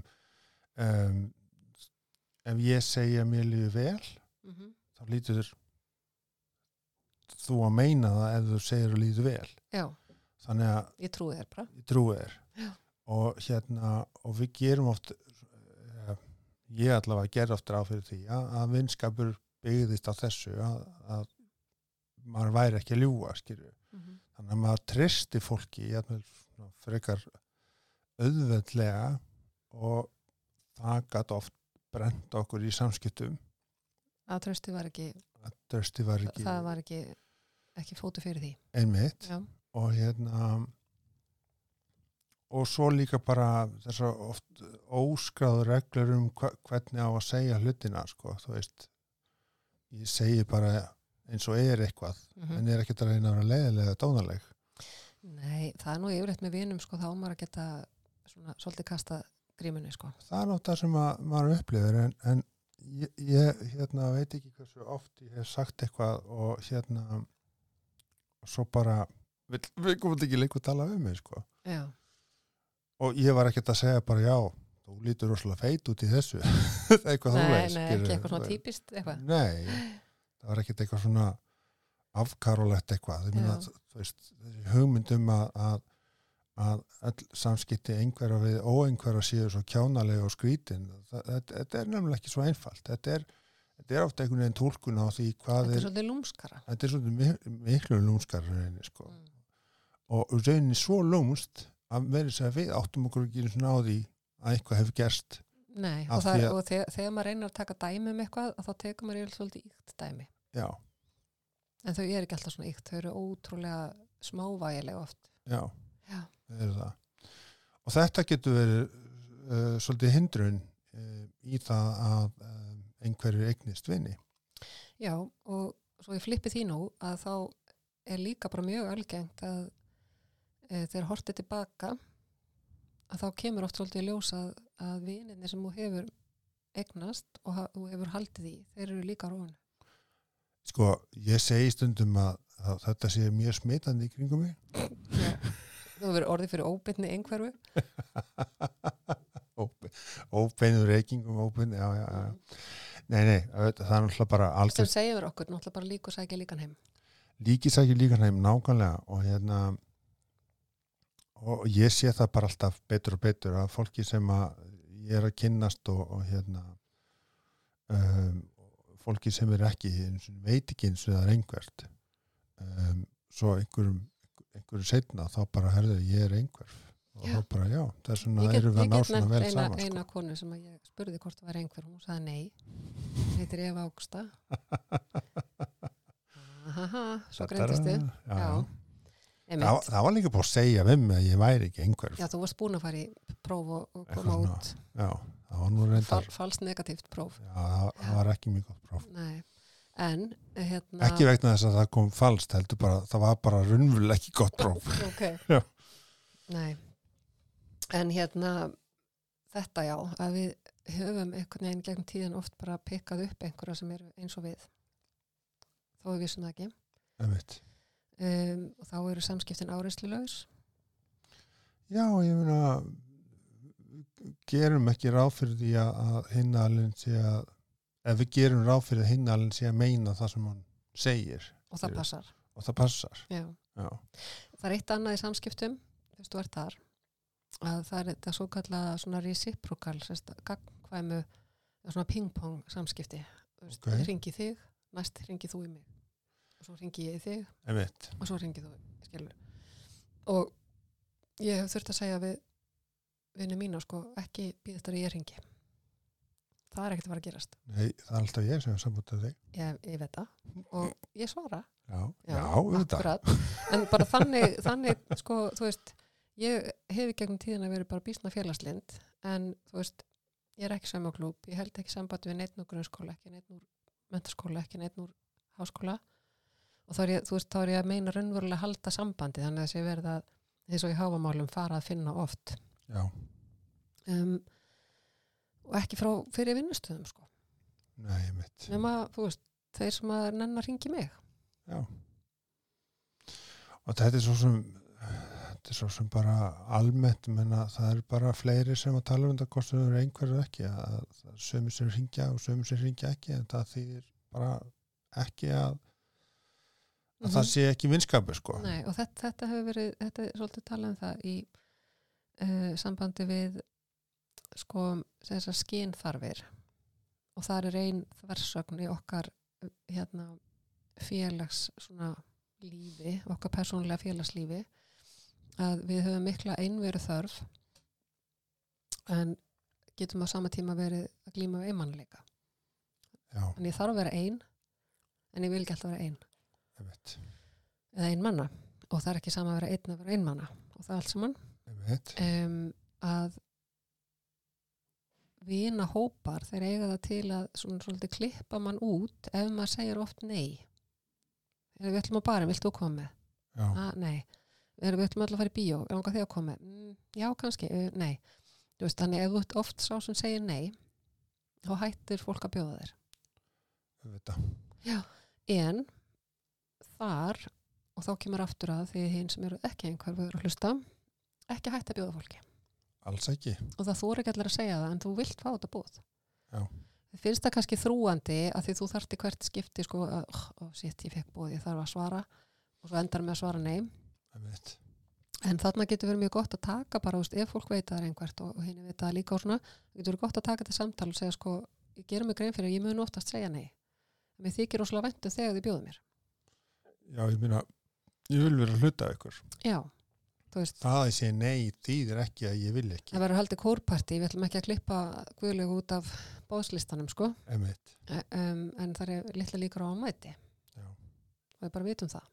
S1: um, ef ég segi að mér lífi vel
S2: mm
S1: þá lítur þú að meina það ef þú segir að lítur vel
S2: já,
S1: þannig að
S2: ég trúi þér bara
S1: ég trúi þér
S2: Já.
S1: og hérna og við gerum oft eh, ég allavega ger oft ráð fyrir því að, að vinskapur byggðist á þessu að, að maður væri ekki að ljúga skilju.
S2: mm -hmm.
S1: þannig að maður tristi fólki jafnvel, svona, frekar auðveldlega og það gat oft brent okkur í samskiptum
S2: að trösti var ekki,
S1: að trösti var ekki
S2: það var ekki ekki fótu fyrir því
S1: einmitt
S2: já,
S1: og hérna og svo líka bara þessar oft óskráðu reglur um hva, hvernig á að segja hlutina sko, þú veist ég segi bara eins og er eitthvað
S2: mm
S1: en ég er ekkert að reyna að vera leiðilega eða dónaleg
S2: nei, það er nú yfirleitt með vinum sko þá á maður að geta svona svolítið kasta grímunni sko
S1: það er náttúrulega sem að, maður upplifir en, en ég, ég hérna, veit ekki hversu oft ég hef sagt eitthvað og hérna og svo bara við, við komum ekki lengur að tala um mig sko.
S2: já,
S1: og ég var ekkert að segja bara já þú lítur rosalega feit út í þessu eitthvað þú
S2: nei,
S1: veist
S2: nei,
S1: skilurðu.
S2: ekki eitthvað svona típist eitthvað
S1: nei, það var ekkert eitthvað svona afkarolegt eitthvað Ég meina,
S2: Já.
S1: þú veist, þessi hugmyndum að, að, að all samskipti einhverja við óeinhverja síður svo kjánalega og skrítin þetta, þetta er nefnilega ekki svo einfalt þetta er, þetta er ofta einhvern veginn tólkun á því hvað
S2: Þetta er
S1: er,
S2: svolítið lúmskara.
S1: þetta er svolítið mik- miklu lúmskar reyni sko
S2: Mm.
S1: og rauninni svo lómst að verið sér að við áttum okkur ekki einu sinni á því að eitthvað hefur gerst
S2: Nei,
S1: Af
S2: og, það,
S1: því að-
S2: og þegar, þegar maður reynir að taka dæmi um eitthvað, að þá tekur maður yfir svolítið íkt dæmi.
S1: já,
S2: En þau eru ekki alltaf svona íkt, þau eru ótrúlega smávægilega oft.
S1: já,
S2: Já.
S1: það er það og þetta getur verið uh, svolítið hindrun uh, í það að uh, einhverju eignist vini
S2: Já, og svo ég flippi því nú að þá er líka bara mjög algengt að e, þegar hortið tilbaka, að þá kemur oft svolítið í ljós að, að vininni sem þú hefur egnast og ha, þú hefur haldið í, þeir eru líka róin.
S1: sko, ég segi stundum að, að þetta sé mjög smitandi í kringum mig
S2: Já. Þú hefur orðið fyrir óbytni einhverfu.
S1: Óbe- óbeinum reykingum óbein, já, já, já nei, nei, auðvitað, það er náttúrulega bara algjör
S2: Sem segir okkur, náttúrulega bara líku sækja líkan heim.
S1: líkisækir líkanheim nákvæmlega og hérna og ég sé það bara alltaf betur og betur að fólki sem að ég er að kynnast og, og hérna um, fólki sem er ekki einu sinni veit ekki eins og það er einhvert um, svo einhverjum einhverju setna þá bara herðu ég er einhverf og
S2: Já.
S1: þá bara já, þess vegna
S2: Ég get-
S1: erum við
S2: ég
S1: að ná
S2: get
S1: svona
S2: nefnt
S1: vel
S2: eina,
S1: saman
S2: eina
S1: sko.
S2: konu sem að ég spurði hvort það var einhver hún sagði nei, hún heitir Eva Ágsta Ahaha, svo greintist þið
S1: Já,
S2: já,
S1: já. Það,
S2: einmitt
S1: það var líka búið að segja við mig að ég væri ekki einhverf
S2: já, þú varst búin að fara í próf og, og koma
S1: Eitthvað
S2: út
S1: Já, það var nú
S2: fal,
S1: reyndar
S2: falskt negatíft próf
S1: Já, það, það var ekki mjög gott próf
S2: nei, en hérna
S1: Ekki vegna þess að það kom falskt heldur bara, það var bara raunvöld ekki gott próf Já.
S2: ok nei en hérna þetta já, að við höfum einhvern veginn gegn tíðan oft bara pikkað upp einhverja sem eru eins og við þó við vissum það ekki
S1: einmitt.
S2: um, og þá eru samskiptin áreyslulegs
S1: Já, ég meina gerum ekki ráð fyrir því að, að hinnalinn sé að ef við gerum ráð fyrir að hinnalinn sé að meina það sem hann segir
S2: og það
S1: Já.
S2: passar
S1: og það passar
S2: já.
S1: Já,
S2: það er eitt annað í samskiptum þess þú ert þar að það er þetta svo kallað svona reciprocal sérst, gagnkvæmu eða svona ping-pong samskipti
S1: Ok.
S2: okay. ringi þig, næst ringi þú í mig og svo ringi ég í þig
S1: einmitt
S2: og svo ringið þú skilur og ég hef þurft að segja við vinnu mína sko ekki býða þetta að ég ringi það er ekkert að fara að gerast
S1: Nei, það er alltaf ég sem er sambútið þig
S2: ég, ég veit það og ég svara
S1: Já, já, auðvitað
S2: akkurat. en bara þannig, þannig sko þú veist ég hef í gegnum tíðina verið bara býsna félagslind en þú veist ég er ekki saman á klúb, ég held ekki sambandi við neittn úr grunnskóla, ekki neittn úr mentaskóla, ekki neittn úr háskóla og þá er ég, þú veist, þá er ég að meina raunverulega að halda sambandi þannig að þessi verða eins og í háfamálum fara að finna oft
S1: Já,
S2: um, og ekki frá fyrir vinnustöðum sko,
S1: nei, einmitt
S2: nema, þú veist þeir sem að nennar ringi mig
S1: Já. Og þetta er svo sem þetta er svo sem bara almennt menna það er bara fleiri sem að tala um þetta hvort sem þau eru einhverju ekki að það er sömu sem ringja og sömu sem ringja ekki en það þýðir bara ekki að, að
S2: Mhm.
S1: það sé ekki vinskapu sko.
S2: Nei, og þetta, þetta hefur verið, þetta er svolítið talað um það í uh, sambandi við sko, þessar skínþarfir og það er ein þversögn í okkar eh, hérna félags svona lífi, okkar persónulega félagslífi að við höfum mikla einveru þörf en getum á sama tíma verið að glíma við einmannleika.
S1: Já,
S2: En ég þarf að vera ein en ég vil ekki alltaf vera ein
S1: einmitt.
S2: eða einmanna og það er ekki sama að vera einn að vera einmanna og það er allt saman
S1: Einmitt.
S2: um, að vina hópar þeir eiga það til að svona svolítið klippa mann út ef maður segir oft nei eða við ætlum að bara, vilt þú koma með?
S1: Já,
S2: Ah, nei, eða við ætlum alltaf að fara í bíó langar þig að koma með? Mm, já, kannski, uh, nei þú veist, þannig ef þú ert oft sá sem segir nei þá hættir fólk að bjóða þér
S1: auðvitað.
S2: en þar og þá kemur aftur að því hinn sem eru ekki einhverfur að hlusta ekki hægt að bjóða fólki
S1: Alls ekki.
S2: og það þú er ekki allir að segja það en þú vilt fá þetta búð
S1: Já.
S2: þið finnst það kannski þrúandi að því þú þarft í hvert skipti sko að oh, oh, shit, ég fekk búð, ég þarf að svara og svo endar með að svara nei
S1: Einmitt.
S2: en þarna getur verið mjög gott að taka bara úst, ef fólk veit að það er einhvert og, og hinn veit það líka og svona, það getur verið gott að taka þetta samtal og segja sko, ég gerum mig grein fyrir að ég mun oftast segja nei mér þykir rosalega væntum þegar þið bjóðu mér
S1: Já, ég meina, ég vil vera að hluta af ykkur.
S2: já, þú veist
S1: Það að ég segi nei þýðir ekki að ég vil ekki.
S2: Það verður haldið kórparti, við ætlum ekki að klippa guðlegu út af bóðslistanum sko,
S1: Einmitt.
S2: E- um, en það er litla líkur á ámæti
S1: Já.
S2: og við bara vitum það.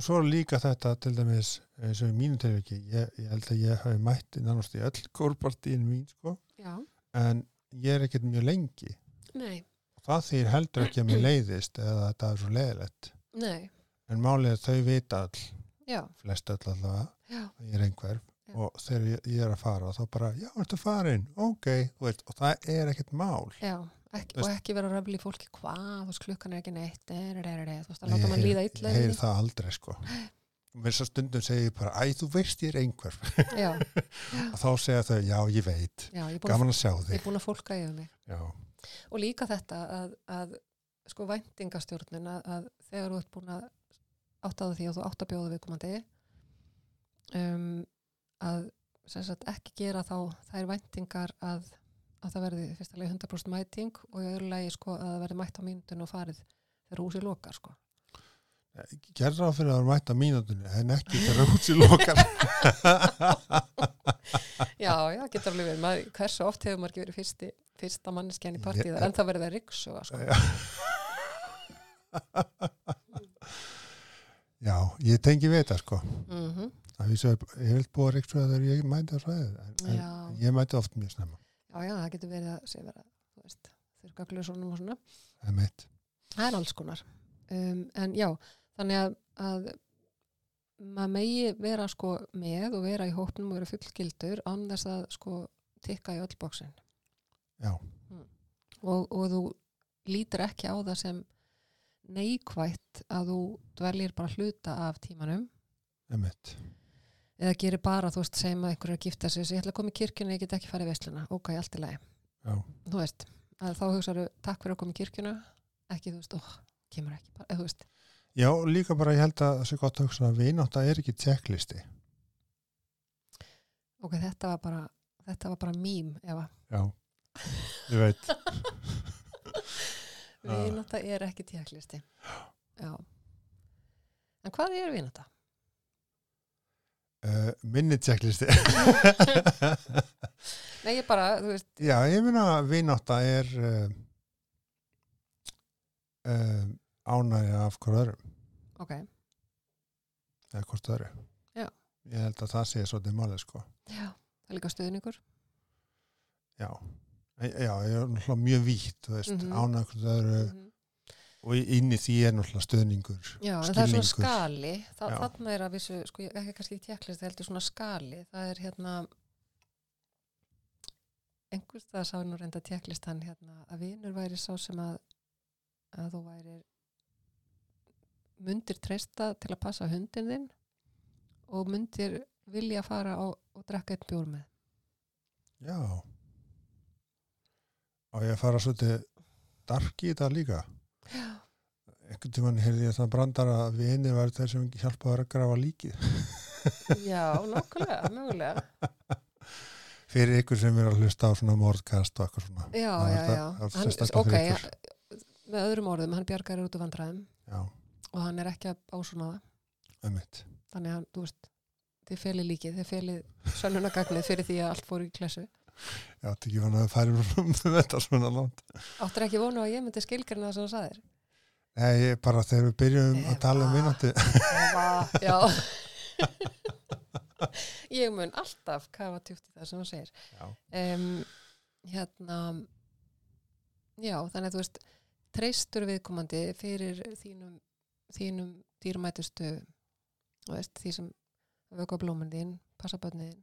S1: Og svo er líka þetta til dæmis eins og í mínu tilviki, ég, ég held að ég hafi mætt nánast í öll kórpartíin mín sko,
S2: Já,
S1: en ég er ekkert mjög lengi
S2: nei,
S1: og það þýr heldur ekki að mér leiðist eða að þetta er svo leiðilegt
S2: nei,
S1: en málið er að þau vita all,
S2: já,
S1: flest all allavega
S2: já,
S1: að ég er einhverf
S2: Já.
S1: og þegar ég, ég er að fara þá bara, já, ertu farin, ok þú veist, og það er ekkert mál
S2: já, ekki,
S1: Þú veist-
S2: og ekki vera að röfla í fólki hvað, þú veist klukkan er ekki neitt, er, er, er, er, þú veist að
S1: Ég
S2: láta mann
S1: heyri-
S2: líða illa.
S1: ég
S2: yfir
S1: heyri það aldrei sko mér svo stundum segi ég bara, æ, þú veist ég er einhverf
S2: því. Já,
S1: og þá segja þau, já, ég veit
S2: já, ég er búin,
S1: gaman að sjá
S2: að, ég
S1: þig
S2: er búin að fólka yfir mig.
S1: já,
S2: Og líka þetta að, að sko væntingastjórnun að, að þegar þú ert búin að áttaða því og þú átt að bjóða viðkomandi um, að sem sagt ekki gera þá þær væntingar að, að það verði fyrst að leið 100% mæting og í öðru lagi sko að það verði mætt á myndun og farið þegar húsi lokar sko.
S1: Gerða á fyrir að það er mætt að mínútunni en ekki þegar húsi lokar.
S2: Já, já, getur alveg verið. Maður, hversu oft hefur maður ekki verið fyrsti, fyrsta manneskjan í partíð
S1: Ég-
S2: en það verði það ryggsuga sko.
S1: Já. Já, ég tengi við þetta sko.
S2: Mm
S1: Það vísu að ég vil búa reikstuða þegar ég mæti á svæðið. En,
S2: já,
S1: en ég mæti oft mjög snemma.
S2: já, já, það getur verið að sé vera, þú veist, þurrka glösunum og svona.
S1: Það er mitt.
S2: Það er alls konar. Um, en já, þannig að, að maður megi vera sko með og vera í hópnum og vera fullgildur án þess að sko tikka í öll bóksin.
S1: Já.
S2: Mm. Og, og þú lítur ekki á það sem neikvætt að þú dveljir bara hluta af tímanum
S1: Það er mitt.
S2: eða gerir bara, þú veist, segjum að einhverju að gifta sig, þessi, ég ætla að koma í kirkjuna, ég get ekki farið í veisluna, ok, allt í lagi.
S1: Já.
S2: Þú veist, að þá hugsaðu, takk fyrir að koma í kirkjuna, ekki, þú veist, óh, kemur ekki, bara, eða, þú veist,
S1: Já, líka bara ég held að það sé gott að hugsa um að vinátta er ekki tjekklisti.
S2: ok, þetta var bara þetta var bara mím, Eva
S1: Já, ég veit. Já.
S2: vináta er ekki tjekklisti já en hvað er vináta?
S1: Uh, minni tjekklisti.
S2: Nei, ég bara, þú veist,
S1: Já, ég meina að vinátta er uh, uh, ánægja af hvort öðrum.
S2: ok
S1: Eða hvort öðru.
S2: Já.
S1: Ég held að það sé svolítið málið sko.
S2: já, það er líka stuðningur
S1: Já. E- Já, ég er náttúrulega mjög vítt, þú veist, mm
S2: Mhm.
S1: -hmm. ánægja hvort öðru
S2: Mhm.
S1: og í- inn í því er náttúrulega stöðningur.
S2: já, en það er svona
S1: Skilningur.
S2: skali Þa,
S1: Já.
S2: þarna er að vissu, sko, ég- ekki kannski tjekklisti heldur svona skali, það er hérna einhvers það sá nú reynda tjekklistan hérna, að vinur væri sá sem að að þú væri mundir treysta til að passa hundin þinn og mundir vilja fara á, og drekka einn bjór með
S1: Já. Og ég að fara svolítið dark í þetta líka.
S2: Já.
S1: einhvern tímann heyrði ég það brandar að vinir var þeir sem hjálpaður að grafa líkið
S2: Já, nokkulega, mögulega
S1: fyrir ykkur sem er að hlusta á svona mordkast og eitthvað svona
S2: Já,
S1: Það
S2: já,
S1: er það-
S2: já
S1: það er
S2: hann,
S1: sérstaklega
S2: Ok,
S1: fyrir ykkur.
S2: með öðrum orðum, hann bjargar er út úr vandræðum
S1: já,
S2: og hann er ekki að ásuna það
S1: ömmit
S2: þannig að, hann, þú veist, þið felið líkið þið felið sönunagagnið fyrir því að allt fór í klessu
S1: já, þetta ekki fann að það færi um þetta svona langt
S2: Áttur ekki vonu að ég myndi skilgarna það sem hann saðir
S1: Nei, ég bara þegar við byrjum að
S2: Eva.
S1: tala um vinandi
S2: Já Ég mun alltaf kafa tjúft í það sem hann segir
S1: já,
S2: um, hérna já, þannig að þú veist treystur viðkomandi fyrir þínum, þínum dýrmætustu þú veist, því sem vöku á blómin þín, passa börnin þín,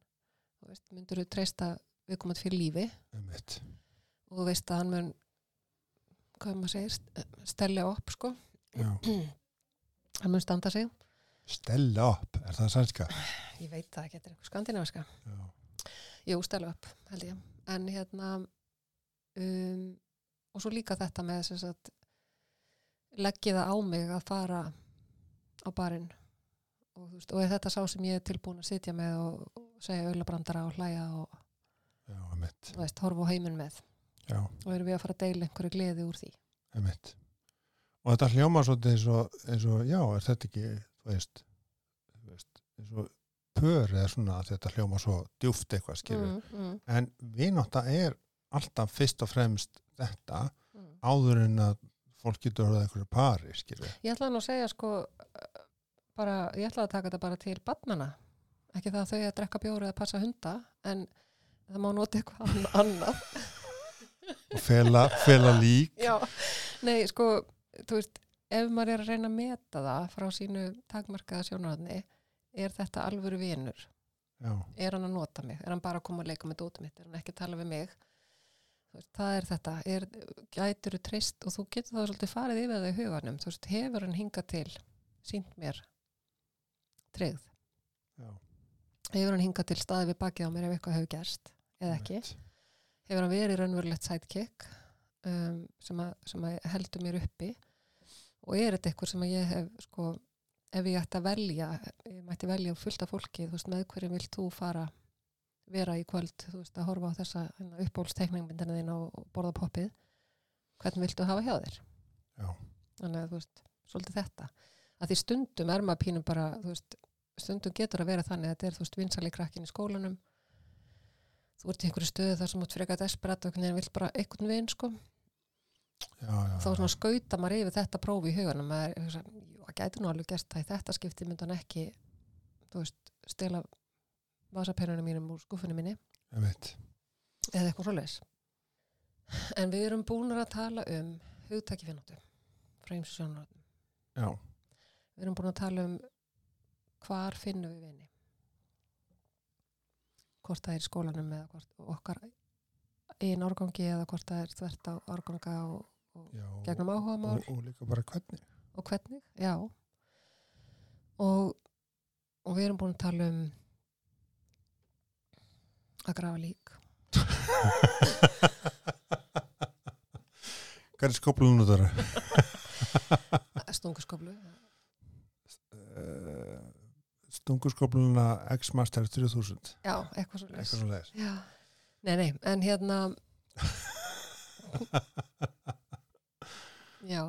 S2: þú veist, myndur þú treysta viðkomandi fyrir lífi
S1: ömmit
S2: og þú veist að hann mun hvað maður segir, st- stella upp sko,
S1: já.
S2: hann mun standa sig
S1: stella upp, er það sænska?
S2: ég veit það ekki, þetta er eitthvað skandinaviska
S1: Já.
S2: Jú, stælu upp, held ég. En hérna, um, og svo líka þetta með þess að leggja það á mig að fara á barinn og, þú veist, og er þetta sá sem ég er tilbúin að sitja með og og segja auðlabrandara og hlæja og
S1: já, ömmit
S2: þú veist, horfa á heiminn með
S1: já,
S2: og erum við að fara að deila einhverju gleði úr því.
S1: ömmit og þetta hljóma svolítið eins og, eins og já, er þetta ekki, þú veist, þú veist eins og pör eða svona að þetta hljóma svo djúft eitthvað skilur
S2: mm,
S1: en vinátta er alltaf fyrst og fremst þetta
S2: mm.
S1: áður en að fólk getur orðið einhverju pari skilur.
S2: Ég ætlaði nú að segja sko eh, bara, ég ætlaði að taka þetta bara til barnana, ekki það að þau að drekka bjóru eða passa hunda, en það má nota eitthvað ann- annað
S1: og fela, fela lík
S2: Já, nei sko þú veist, ef maður er að reyna að meta það frá sínu takmarkaða sjónarhóðni er þetta alvöru vinur
S1: já,
S2: er hann að nota mig, er hann bara að koma að leika með dótum mitt, er hann ekki að tala við mig Þú veist, það er þetta, er, gætur þú treyst og þú getur það svolítið farið yfir það í huganum, þú veist, hefur hann hingað til sínt mér treyð,
S1: já,
S2: hefur hann hingað til staðið við bakið á mér ef eitthvað hefur gerst eða ekki,
S1: einmitt.
S2: hefur hann verið raunverulegt sidekick um, sem, að, sem að heldur mér uppi og er þetta eitthvað sem að ég hef sko, um ef ég ætti að velja ég mætti velja fullt af fólki, þú veist, með hverjum vilt þú fara vera í kvöld, þú veist, að horfa á þessa uppbólstekningmyndina þín og og borða poppið, hvern viltu hafa hjá þér?
S1: Já.
S2: Þannig að, þú veist, svolítið þetta. Að því stundum er maður pínum bara, þú veist, stundum getur að vera þannig að þetta er, þú veist, vinsali krakkin í skólanum, þú ert í einhverju stöðu þar sem út frekar desperat og hvernig vill bara einhvern veginn, sko,
S1: já, já,
S2: þá
S1: já.
S2: svona skauta maður yfir þetta prófi í huganum maður, hugsa, jú, það gæti nú alveg gert það í þetta skipti myndi hann ekki þú veist, stela vasapennunum mínum úr skuffunum minni
S1: Einmitt.
S2: eða eitthvað svoleiðis en við erum búnar að tala um hugtæki finnáttu frá eins og sjónarotnum
S1: já,
S2: við erum búin að tala um hvar finnum við vini hvort það er í skólanum eða hvort okkar einn árgangi eða hvort það er þvert á árganga og, og
S1: já.
S2: gegnum áhugamál
S1: og, og líka bara hvernig
S2: og hvernig, já og, og við erum búin að tala um að grafa lík
S1: Hvað er skóplunum út ára?
S2: stunguskoflu
S1: Eh, Stungu skóplununa X-Master 3000
S2: já, eitthvað svo
S1: eitthvað svo leiðis
S2: já, nei, nei, en hérna já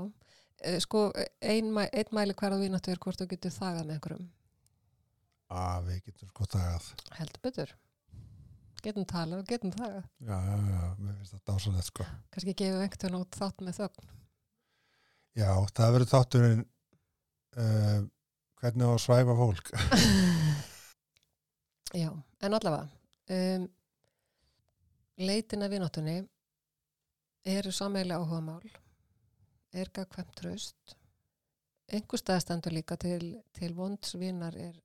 S2: eh, sko, ein, mæ- einn mæli hverða vináttu er hvort þú getur þagað með einhverjum
S1: að við getum sko dagað
S2: heldur betur getum talað og getum þagað
S1: já, já, já, mér finnst það dásalegt sko
S2: kannski gefum einhvern veginn út þátt með þögn
S1: já, það verður þátturinn uh, hvernig á að svæfa fólk
S2: Já, en allavega um, leitin að vináttunni eru sammeila áhugamál er gagkvæmt traust einhver staðstendur líka til, til vondsvinar er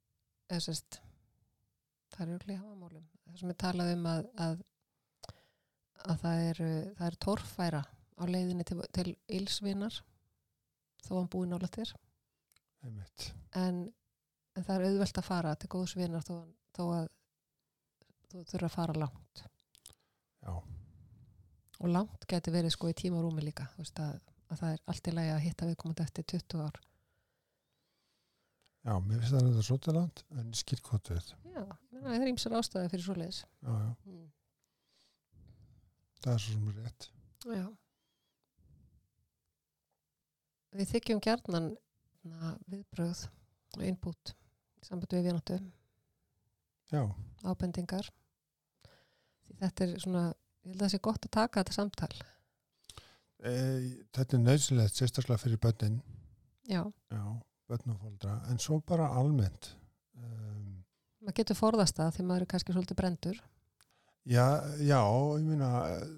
S2: þessist það eru ekki hafamálum það sem er talað um að, að, að það eru það er torfæra á leiðinni til, til ilsvinar þó hann búið nála þér
S1: einmitt,
S2: en, en það er auðvelt að fara til góðs vinar þó, þó að þú þurfa að fara langt
S1: já,
S2: og langt geti verið sko í tíma og rúmi líka þú veist að, að það er allt í lagi að hitta viðkomandi eftir 20 ár
S1: já, mér finnst það þetta svolítið langt en ég skil hvað þú veit
S2: Já, meina, það er ímsar ástæði fyrir svoleiðis
S1: já, já,
S2: mm.
S1: það er svo sem rétt
S2: Já Við þykjum gjarnan na, viðbröð og innbútt í sambandi við vináttu
S1: já,
S2: ábendingar því þetta er svona ég held að það sé gott að taka þetta samtal
S1: e, þetta er nöðsilegt sérstaklega fyrir bönnin
S2: Já
S1: já, bönn og fóldra en svo bara almennt um,
S2: maður getur forðast það því maður er kannski svolítið brendur
S1: Já, já, ég meina eh,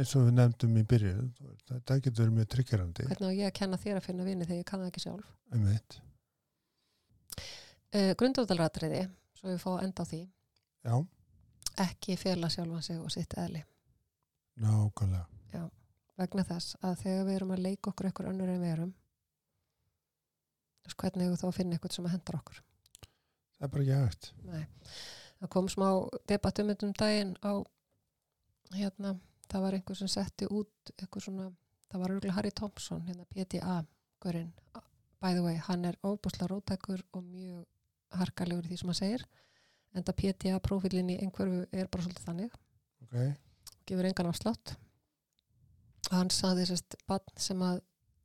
S1: eins og við nefndum í byrjun þetta getur verið mjög tryggjurandi
S2: hvernig á ég að kenna þér að finna vini þegar ég kann það ekki sjálf
S1: einmitt,
S2: uh, grundvöldalratriði, svo við fá að enda á því
S1: já,
S2: ekki fela sjálfan sig og sitt eðli
S1: nákvæmlega
S2: vegna þess að þegar við erum að leika okkur eitthvað önnur en við erum þú veist, hvernig hefur þá að finna eitthvað sem að hendar okkur
S1: það er bara ekki hægt
S2: Nei. það kom smá debattum um daginn á hérna, það var einhver sem setti út eitthvað svona, það var örgulega Harry Thompson hérna PTA -görinn. by the way, hann er óbúslega rótækur og mjög harkalegur í því sem hann segir en það PTA prófílinn í einhverfu er bara svolítið þannig
S1: ok,
S2: gefur engan afslátt og hann saði sérst bann sem að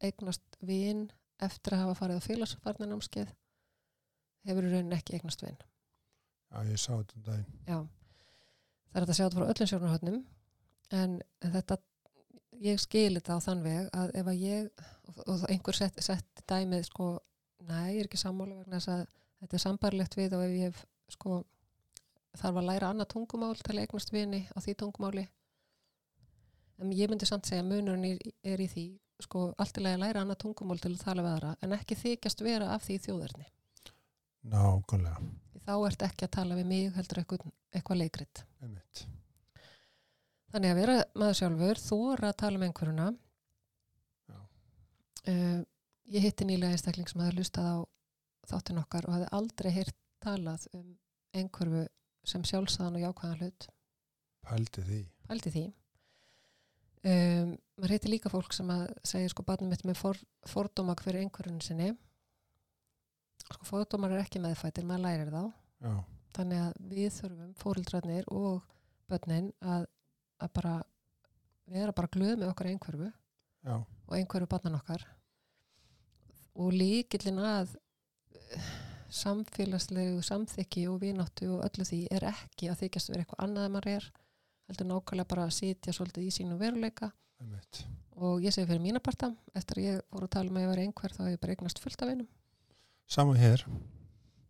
S2: eignast vin eftir að hafa farið á félagsfarnanámskeið hefur í rauninni ekki eignast vin
S1: já, ég sá þetta um daginn
S2: Já, það er hægt að sjá þetta frá öllum sjónarhóttnum en þetta, ég skil þetta á þann veg að ef að ég og, og þá einhver sett, sett dæmið sko, næ, ég er ekki sammála vegna þess að þetta er sambarlegt við og ef ég hef, sko, þarf að læra annað tungumál til að eignast vini á því tungumáli en ég myndi samt segja að munurinn er, er í því sko, allt í lagi að læra annað tungumál til að tala við aðra en ekki þykjast vera af því þjóðarni
S1: nákvæmlega,
S2: Því þá ert ekki að tala við mig heldur eitthvað, eitthvað leikrit
S1: einmitt
S2: Þannig að vera maður sjálfur, þóra að tala með einhverjuna.
S1: Já.
S2: Uh, ég hitti nýlega einstakling sem hafði lustað á þáttin okkar og hafði aldrei heyrt talað um einhverfu sem sjálfsaðan og jákvæðan hlut.
S1: pældi því,
S2: Pældi því. Um, maður hitti líka fólk sem að segja sko barnum mitt með for, fordóma hver einhverjun sinni. Sko fordómar er ekki meðfættir, maður lærir þá
S1: já,
S2: þannig að við þurfum fóreldrarnir og börnin að, að bara vera bara glöð með okkar einhverfu
S1: já,
S2: og einhverju barnan okkar og líkillin að eh, samfélagslegu samþykki og vináttu og öllu því er ekki að þykjast vera eitthvað annað en maður er heldur nákvæmlega bara að sitja svolítið í sínum veruleika
S1: einmitt
S2: og ég segi fyrir mína parta eftir að ég voru að tala um að ég var einhver þá hef ég bara eignast fullt af einum
S1: sama hér,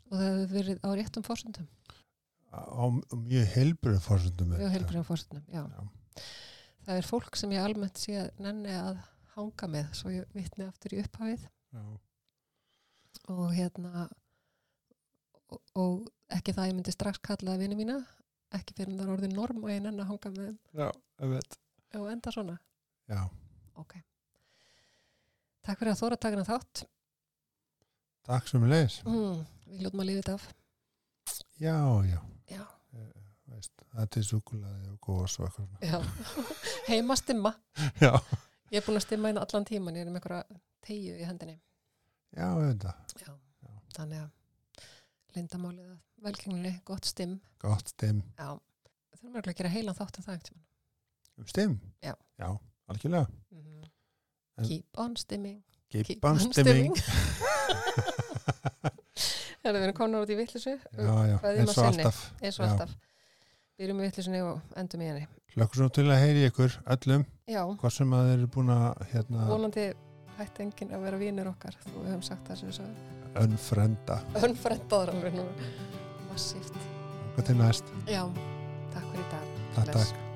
S2: og það hefur verið á réttum fórsöndum
S1: á, á mjög heilbrið fórsöndum
S2: mjög helbriðum fórsöndum, já.
S1: Já.
S2: það er fólk sem ég almennt sé að nenni að hanga með svo ég vitni aftur í upphafið
S1: já,
S2: og hérna og, og ekki það ég myndi strax kalla það vini mína ekki fyrir en það er orðið norm og ég nenni að hanga með þeim
S1: já, einmitt
S2: og enda svona
S1: já,
S2: ok takk fyrir að þóra takina þátt
S1: takk sem við leys
S2: mm, við ljótum að lífi þetta af
S1: já, já, Eh,
S2: já,
S1: veist, það er til súkulaði og góðs og eitthvað svona.
S2: já. heima stimma
S1: já,
S2: ég er búin að stimma inn allan tíman ég er með einhverja tegju í hendinni
S1: já, þetta,
S2: já.
S1: Já.
S2: þannig að lindamálið að velkenglinni, gott stimm
S1: gott stim
S2: já, þurfum örugglega að gera heilan þátt um það einhvern tímann.
S1: um stim,
S2: Já.
S1: já algjörlega,
S2: Mhm.
S1: En-
S2: keep on stimming Keep
S1: gipan
S2: on
S1: stimming
S2: Það er að vera konar út í vittlisu
S1: já, já,
S2: Hvað er
S1: eins
S2: maður
S1: og
S2: sinni?
S1: alltaf
S2: eins og
S1: já.
S2: alltaf Byrjum í vittlisunni og endum í henni
S1: Lökkum svo til að heyri ykkur öllum
S2: Já,
S1: hvað sem að þeir eru búin að hérna,
S2: vonandi hætti enginn að vera vinur okkar þú hefum sagt það sem við sagðum
S1: önfrenda.
S2: Önfrendaður alveg nú Massíft
S1: Hvað til næst?
S2: Já, takk fyrir í dag
S1: Takk,
S2: Bless.
S1: takk.